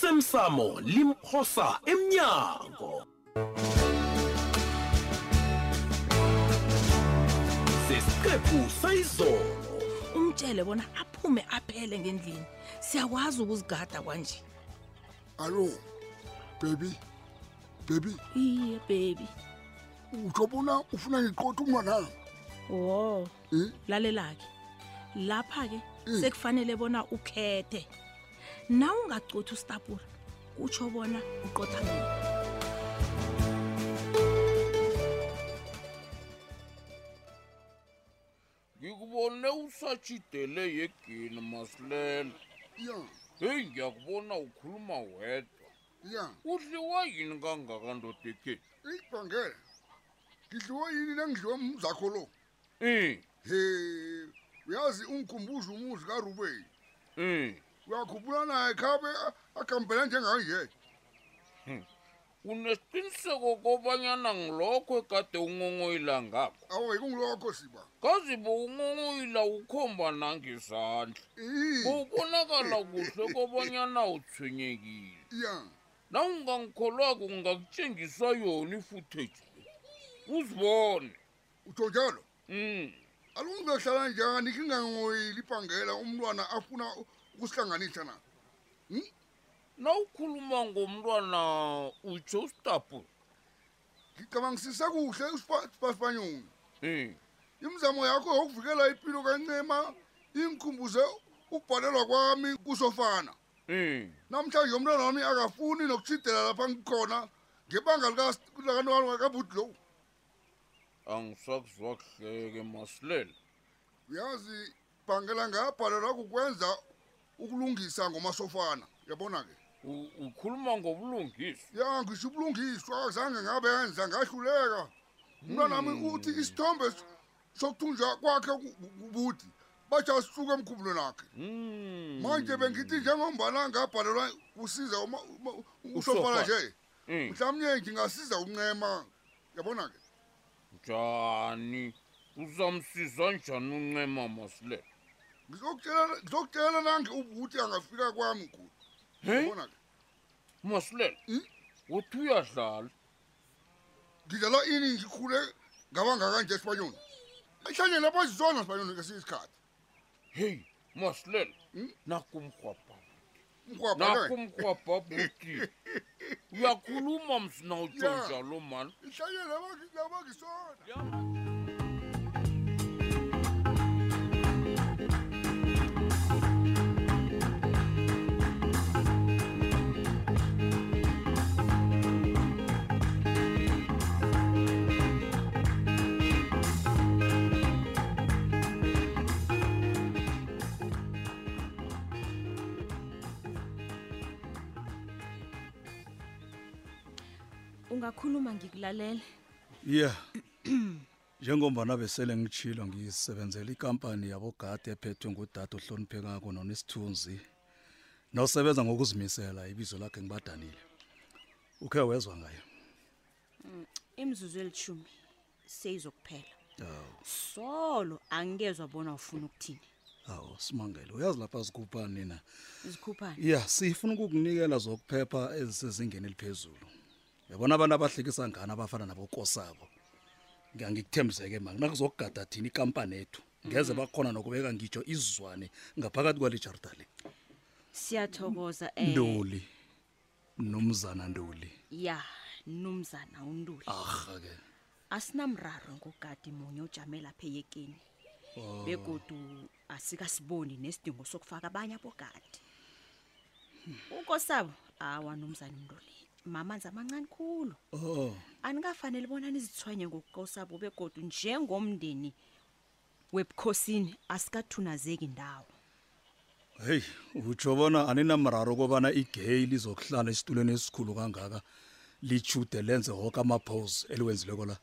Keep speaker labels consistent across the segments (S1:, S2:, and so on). S1: osemsamo limphosa emnyango sesiqephu sayizolo
S2: umtshele bona aphume aphele ngendlini siyakwazi ukuzigada kwanje
S3: Allo. Baby. Baby,
S2: iye bebi
S3: uthobona ufuna ngiqothe umntwana.
S2: wo
S3: Eh?
S2: lalelake lapha-ke
S3: Mm.
S2: sekufanele bona ukhethe na ungacothi usitapula kutsho bona uqotha mina
S4: ngikubone usatshidele yegini masilela
S3: Ya,
S4: heyi ngiyakubona ukhuluma wedwa
S3: ya.
S4: udliwa yini kangaka ndoda ekhethu
S3: Ibhange. Ngidliwe yini nangidliwe umzakho lo?
S4: um
S3: He, uyazi ungikhumbuza umuzi kaRuben.
S4: um
S3: Uyakhumbula naye khabe a- akhambela njenganje.
S4: unesiqiniseko kobanyana ngilokho ekade unqonqoyila ngakho
S3: Awu ikungilokho siba.
S4: kazibo unqonqoyila ukhomba nangesandla
S3: Eh.
S4: kubonakala kuhle kobanyana uthwenyekile
S3: Ya.
S4: na ungangikholwako ungakutshengiswa yona ifutheji uzibone
S3: Uthonjalo.
S4: um
S3: Alungihlala njani kingangoyili ibhangela umntwana afuna ukusihlanganisa na.
S4: na ukhuluma ngomntwana utsho usitapu
S3: Ngicabangisisa kuhle usipasipanyoni.
S4: um
S3: imizamo yakho yokuvikela impilo kancema ingikhumbuze ukubhalelwa kwami kusofana
S4: um
S3: namhlanje umntwana wami akafuni nokuthidela lapha ngikhona ngebanga likakabudlow
S4: angisakuzwa kuhleke masilela
S3: uyazi bhangela ngabhalelwa kukwenza ukulungisa ngomasofana yabona-ke
S4: U- ukhuluma ngobulungisi
S3: ya ngisho ubulungiswa zange ngabenza ngahluleka umntwana wami
S4: Hmm.
S3: uthi isithombe s- sokuthunjwa kwakhe ku- ku- kubudi batsha sisuke emkhumbulo nakhe
S4: Mm.
S3: manje bengithi njengombana ngabhalelwa usiza uma- uma- usofala nje
S4: Mm.
S3: mhlawumnye ngingasiza uncema yabona ke
S4: njani uzamsiza njani uncema masilela
S3: ngizokutshela ngizokutshela nange ubuthi angafika kwami kulo
S4: Hey?
S3: yabona ke
S4: masilela
S3: Mm.
S4: wothi uyadlala
S3: ngidlala ini ngikhule ngabangakanje esibanyoni mhlawumnye lapha sizona sibanyoni ngesinye isikhathi
S4: heyi masilela
S3: Mm.
S4: nakumrhwabha
S3: mhwabha ke
S4: nakumrhwabha buti uyakhuluma msina utsho
S3: Yeah.
S4: njalo mani
S3: mhlawumnye lapha- lapha ngisona
S5: ungakhuluma ngikulalele
S6: Yeah. Njengombana besele ngitshilo ngisebenzela ikampani yabogade ephethwe ngudade ohloniphekako nonesithunzi. Nosebenza ngokuzimisela ibizo lakhe ngibadanile. Ukhe wezwa ngayo.
S5: imizuzu elishumi seyizokuphela
S6: Awu,
S5: solo angikezwa bona ufuna ukuthini
S6: awu simangele. Uyazi lapha sikupha nina.
S5: izikhuphane
S6: Yeah, sifuna ukukunikela zokuphepha ezisezingeni eliphezulu. Yabona abantu abahlekisa ngani abafana nabo Nkosabo. Ngiyangikuthembiseke manje nakuzokugada thina ikampani yethu. Ngeze bakhona nokubeka ngitsho izizwane ngaphakathi kwalejardale.
S5: siyathokoza um
S6: Ndoli. Eh, Nomzana Ndoli.
S5: ya numzana untuli
S6: Agha ke.
S5: asinamraro ngogadi munye ojame lapha eyekeni begodu asikasiboni nesidingo sokufaka abanye abogadi ukosabo awa numzana untuli mamanzi amancane khulu
S6: Oh,
S5: anikafanele bona nizithwenye ngokosabo begodu njengomndeni webukhosini asikathunazeki indawo
S6: hey, utsho bona aninamraro kobana igay lizokuhlala esitulweni esikhulu kangaka lichude lenze hoka amapose eliwenzileko la.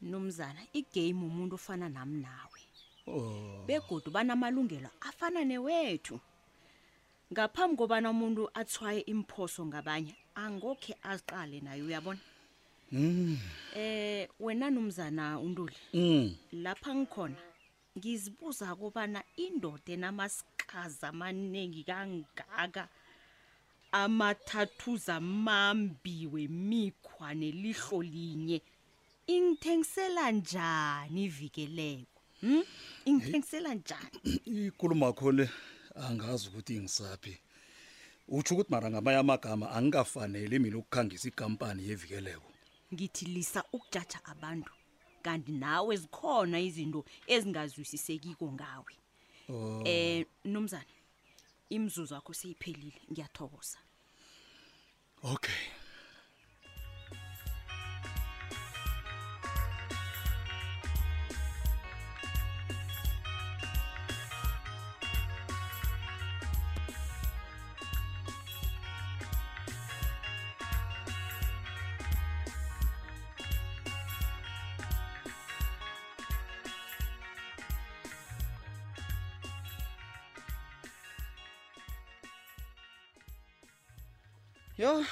S5: nomzana igame umuntu ofana nami nawe
S6: Oh.
S5: begodu banamalungelo afana newethu ngaphambi kobana umuntu athwaye imphoso ngabanye angokhe aziqale naye uyabona
S6: Hmm,
S5: mm. eh wena nomzana untuli
S6: Mm.
S5: lapha ngikhona ngizibuza kobana indoda enamasikazi amaningi kangaka amathathuza mambi wemikhwa nelihlo linye ingithengisela njani ivikeleko hm ingithengisela njani
S6: ikulumo akho le angazi ukuthi ngisaphi utsho ukuthi mara ngamanye amagama angikafanele mina ukukhangisa ikampani yevikeleko
S5: ngithi lisa ukujaja abantu kanti nawe zikhona izinto ezingazwisisekiko ngawe
S7: Oh.
S6: Oh.
S5: eh nomzana imzuzu yakho seyiphelile ngiyathokoza
S6: okay
S7: yo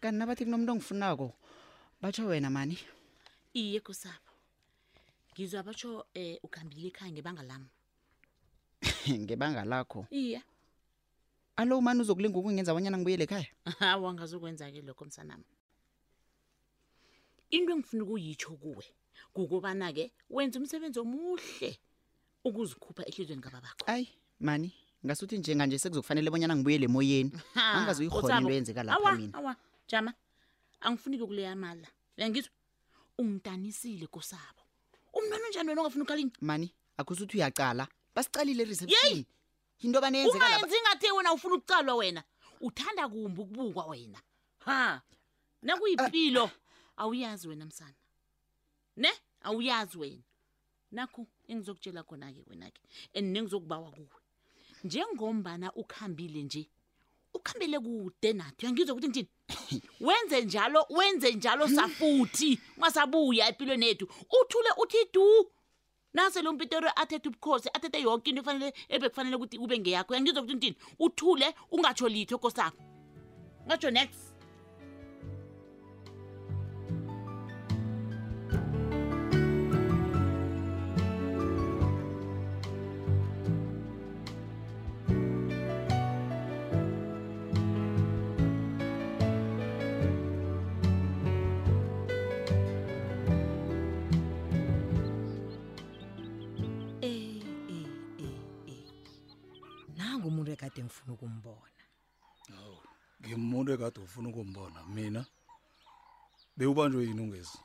S7: kanti nabathi kunomuntu ongifunako batsho wena mani
S8: iye kusapho ngizwa batsho um ukhambile ekhaya ngebanga lami
S7: ngebanga lakho
S8: iye
S7: alo mani uzokulinga ukungenza abanyana ngibuyele ekhaya
S8: hawa ngazukwenza-ke lokho msanami into engifuna ukuyitsho kuwe kukobana-ke wenza umsebenzi omuhle ukuzikhupha ehlizweni kababakho
S7: ayi mani ngasuthi njenganje sekuzokufanele bonyana ngibuyele emoyeni angazuyihona into yenzeka lapha mina
S8: awa jama angifuni-ke kuleya mala uyangizwa ungidanisile kusabo umntwana onjani wena ongafuni ukalini
S7: mani akusuthi uyacala basicalile ereception yinto baneyenzeka lapha
S8: ungayenzi ngathi wena ufuna ukucalwa wena uthanda kumbi ukubukwa wena ha nakuyipilo awuyazi wena msana ne awuyazi wena nakho engizokutshela khona-ke wena-ke and nengizokubawa kuwe njengombana ukuhambile nje ukuhambele kude nathi uyangizwa ukuthi ngithini wenze njalo wenze njalo safuthi ungasabuya empilweni yethu uthule uthi du nasele umpitoro athethe ubukhosi athethe yonke into ekufanele ebekufanele ukuthi ube ngeyakho uyangizwa ukuthi ngithini uthule ungatsho litho kosapho ungatsho next
S9: Eh eh eh eh. Nangu umuntu ekade ngifuna ukumbona.
S6: ngimuntu ekade ufuna ukumbona mina bewubanjwe yini ungezi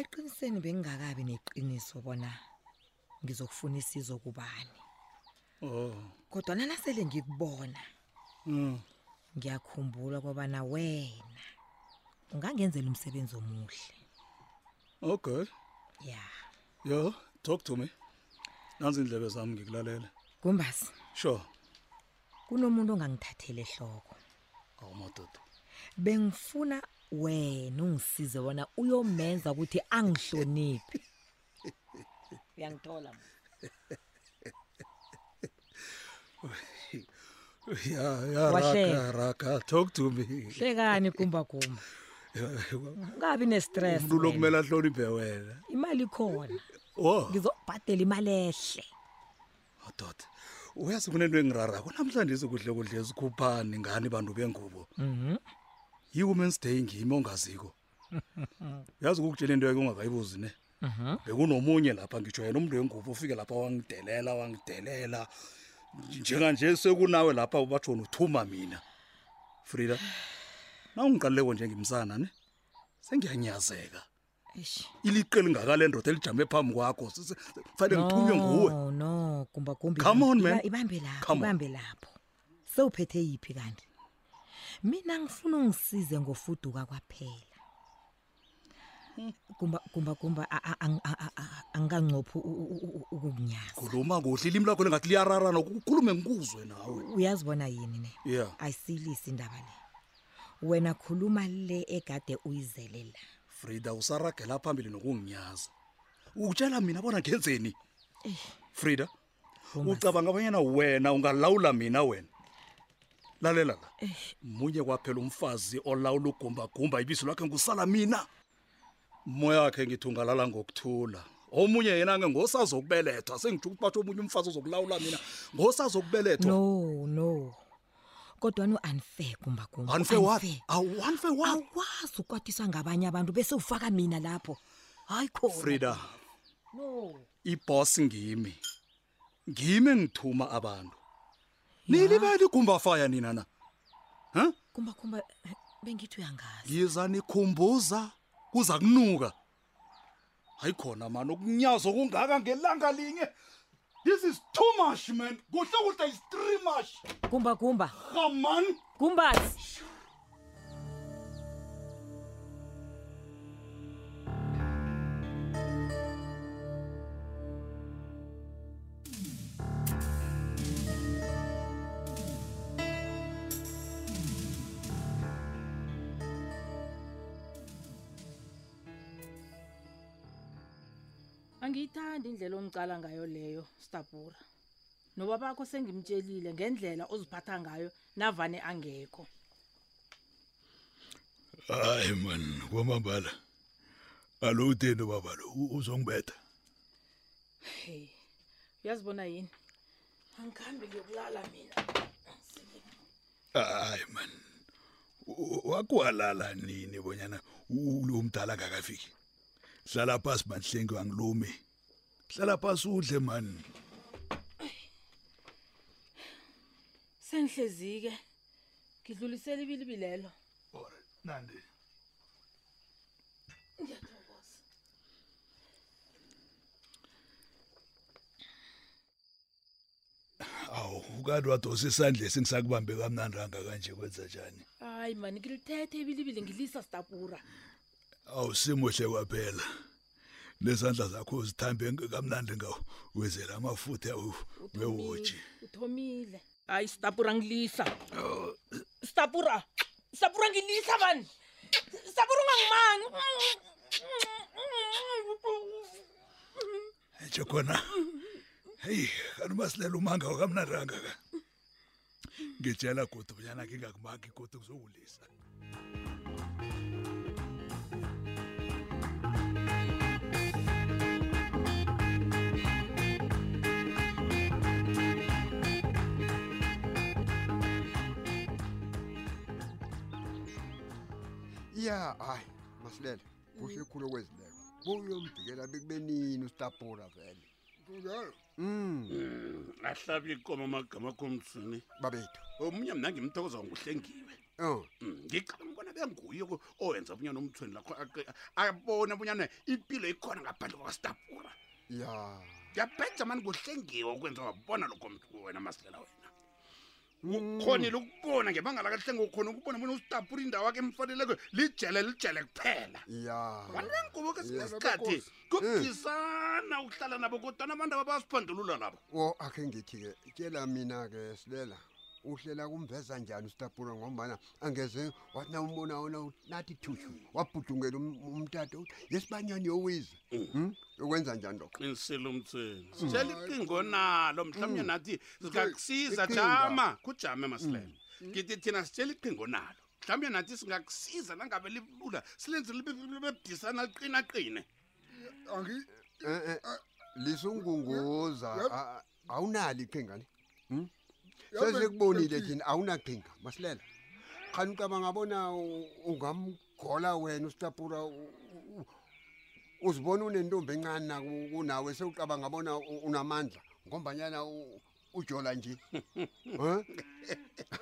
S9: Eqiniseni bengingakabi neqiniso bona ngizokufuna isizo kubani.
S6: oh
S9: Kodwa nalasele ngikubona
S6: mm.
S9: ngiyakhumbula kobana wena ungangenzela umsebenzi omuhle.
S6: okay
S9: Ya.
S6: Oh, yo talk to me nanzi indlebe zami ngikulalela
S9: Kumbasi
S6: sure
S9: kunomuntu ongangithathele ehloko.
S6: awu madoda
S9: Bengifuna wena ungisize bona uyomenza ukuthi angihloniphi. Uyangithola.
S6: ya ya
S9: Wahleka.
S6: raka raka talk to me
S9: Hlekani kumba kumba. Ungabi ne-stress.
S6: umuntu
S9: wena.
S6: lokumele ahloniphe wena
S9: Imali khona.
S6: wo
S9: Ngizobhadela imali ehle.
S6: madoda uyazi kunento engirarako namhlanje izikudle kudle ezikhuphani ngani bantu bengubo
S9: Mhm.
S6: yi-women's day ngimi ongaziko uyazi ukukutshela into yake ungakayibuzi ne
S9: Mhm.
S6: bekunomunye lapha ngitsho yena umntu wengubo ufike lapha wangidelela wangidelela njenganje sekunawe lapha ubatshona uthuma mina frida nawungiqaluleko njengimsana ne sengiyanyazeka
S9: Eish.
S6: iliqe lingakale ndoda elijame phambi kwakho Se- se- se- fanele ngithunywe nguwe
S9: No, no, kumba kumba.
S6: Come on,
S9: iba-
S6: man.
S9: Ibambe lapho,
S6: Come on.
S9: ibambe lapho. Sewuphethe yipi kanti? Mina ngifuna ungisize ngofuduka kwaphela. Kumba kumba kumba a- a- ang- a- a- a- anganqophi u- u- u- u- ukukunyaza.
S6: khuluma kuhle ilimi lakho lingathi liyararana kukhulume ngikuzwe nawe
S9: Uyazibona yini ne?
S6: ya
S9: Ayisilisi indaba le. Wena khuluma le egade uyizelela.
S6: frida usaragela phambili nokunginyaza ukutshela mina bona ngenzeni frida ucabanga abanyana wena ungalawula mina wena lalela la munye kwaphela umfazi olawula ugumbagumba ibizo lakhe ngusala mina moya wakhe ngithi ungalala ngokuthula omunye yena ke ngosazokubelethwa sengitsho ukuthi batho omunye umfazi ozokulawula mina ngosazokubelethwa
S9: No, no. kodwa unfair kumba kumba
S6: Unfair what? Awu, unfair what?
S9: awazi ukwatiswa ngabanye abantu bese ufaka mina lapho hayi khona
S6: frida
S9: no
S6: iboss ngimi ngimi engithuma abantu nilibele igumbafaya nina na ha
S9: kumba kumba eh, bengithi uyangazi
S6: yiza nikhumbuza kuza kunuka hayi khona mani ukunyazwa kungaka ngelanga linye this is too much man kuhle kuhle is three much
S9: kumba kumba
S6: ha man
S9: kumbazi
S10: angiyithandi indlela ongicala ngayo leyo stabura noba bakho sengimtshelile ngendlela oziphatha ngayo navane angekho
S11: hayi man kwamambala alowuteni baba lo u- uzongibetha
S10: hey uyazibona yini angikhambi ngiyokulala mina
S11: hayi man U- u- wakwalala nini bonyana u- ulo mdala ngakafiki hlala phasi banihlengiwe angilumi hlala phasi udle mani
S10: sengihlezi-ke ngidlulisela ibilibilelo
S11: nandi awu ukanti wadosa isandle singisakubambe kamnandanga kanje kwenza njani
S10: hayi mani ngilithethe ibilibili ngilisa stabura
S11: awusimuhle kwaphela lezandla zakho zithambe ng- kamnandi ngawo wezela amafutha wewoji
S10: uthomile hayi stabura ngilisa stabura stabura ngilisa mani stabura ungangimani
S11: nje khona heyi kanti umasilela umanga wakamnandanga ka ngitshela godi unyana ngingakumaki godi ngizowulisa
S12: ya hayi masilela kuhle khulu okwezileko buyomdikela bekubenini ustabhula vele
S3: kunjalo
S12: Mm.
S13: ahlabe ikomo amagama komtsini
S12: babethu
S13: omunye mna ngimthokoza nguhlengiwe
S12: Oh.
S13: ngiqala ngibona benguye ko- owenza obunyana omthweni lakho aqe- abone obunyana impilo ikhona ngaphandle kwakastabura
S12: ya
S13: ngiyabheja mani kuhlengiwe ukwenza wabona lokho mntu wena masilela wena
S12: Mm.
S13: ukhonile ukubona ngebanga lakahlengiwe ukhona ukubona bona ustabura indawo akhe emfaneleko lijele lijele kuphela
S12: ya
S13: wanengubo kesinye
S12: Yeah,
S13: isikhathi
S12: bekhosi.
S13: kugizana ukuhlala nabo kodwana abantu ababasiphandulula labo
S12: o akhe ngithi-ke tyela mina-ke silela uhlela kumveza njani ustabhula ngombana angeze wathi nawumbona wona nathi thushu wabhudungela umtato yesibanyani yowiza Hmm? yokwenza njani lokho
S13: qinisile umthweni
S12: Mm.
S13: sitshela iqingo nalo mhlawumnye
S12: Mm.
S13: nathi singakusiza
S12: Iqhinga.
S13: jama
S12: Hmm.
S13: kujame masilela ngithi thina sitshela iqingo nalo mhlawumnye nathi singakusiza nangabe libula silenze libe- libe budisana liqinaqine
S3: angi
S12: Eh, eh, lisungunguza
S3: Yep.
S12: a- a- awunalo iqhinga le Hmm?
S3: Yep,
S12: sesekubonile
S3: Nkosi.
S12: thina awunaqhinga masilela khani ucabanga bona u- ungamgola wena usitapura u- u- u- uzibona unentombi encane naku- kunawe sewucabanga bona u- unamandla ngombanyana u- ujola nje Eh?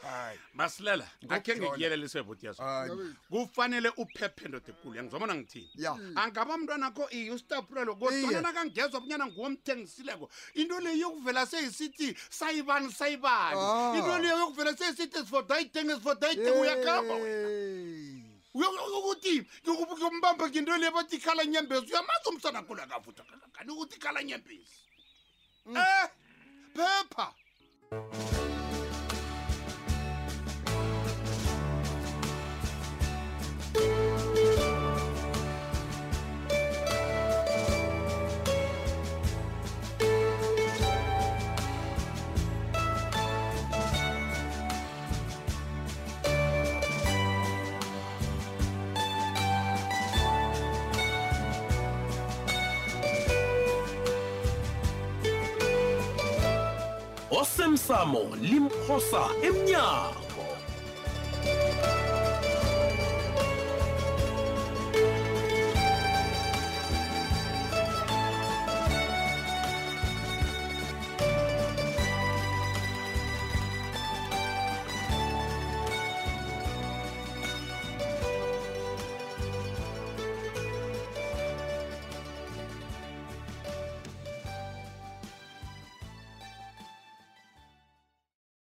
S12: Hayi.
S13: masilela akhe
S12: Ngokujola.
S13: ngikuyelelise ebhuti yazo
S12: Hayi.
S13: kufanele uphephe ndoda ekulu yangizobona ngithini
S12: Ya.
S13: angaba mntwana kho iyustapurelo
S12: Iye.
S13: kodwanana kangezwa bunyana nguwomthengisileko into leyo yokuvela seyisithi sayibani
S12: Ah.
S13: sayibani into leyo yokuvela seyisithi sifoda ayithenge sifoda ayithenge uyakhamba ukuthi kumbamba ngento le bathi khala nyembezi uyamazi umsana khona kavutha kani ukuthi khala nyembezi eh phepha
S1: osemsamo limphosa emnyango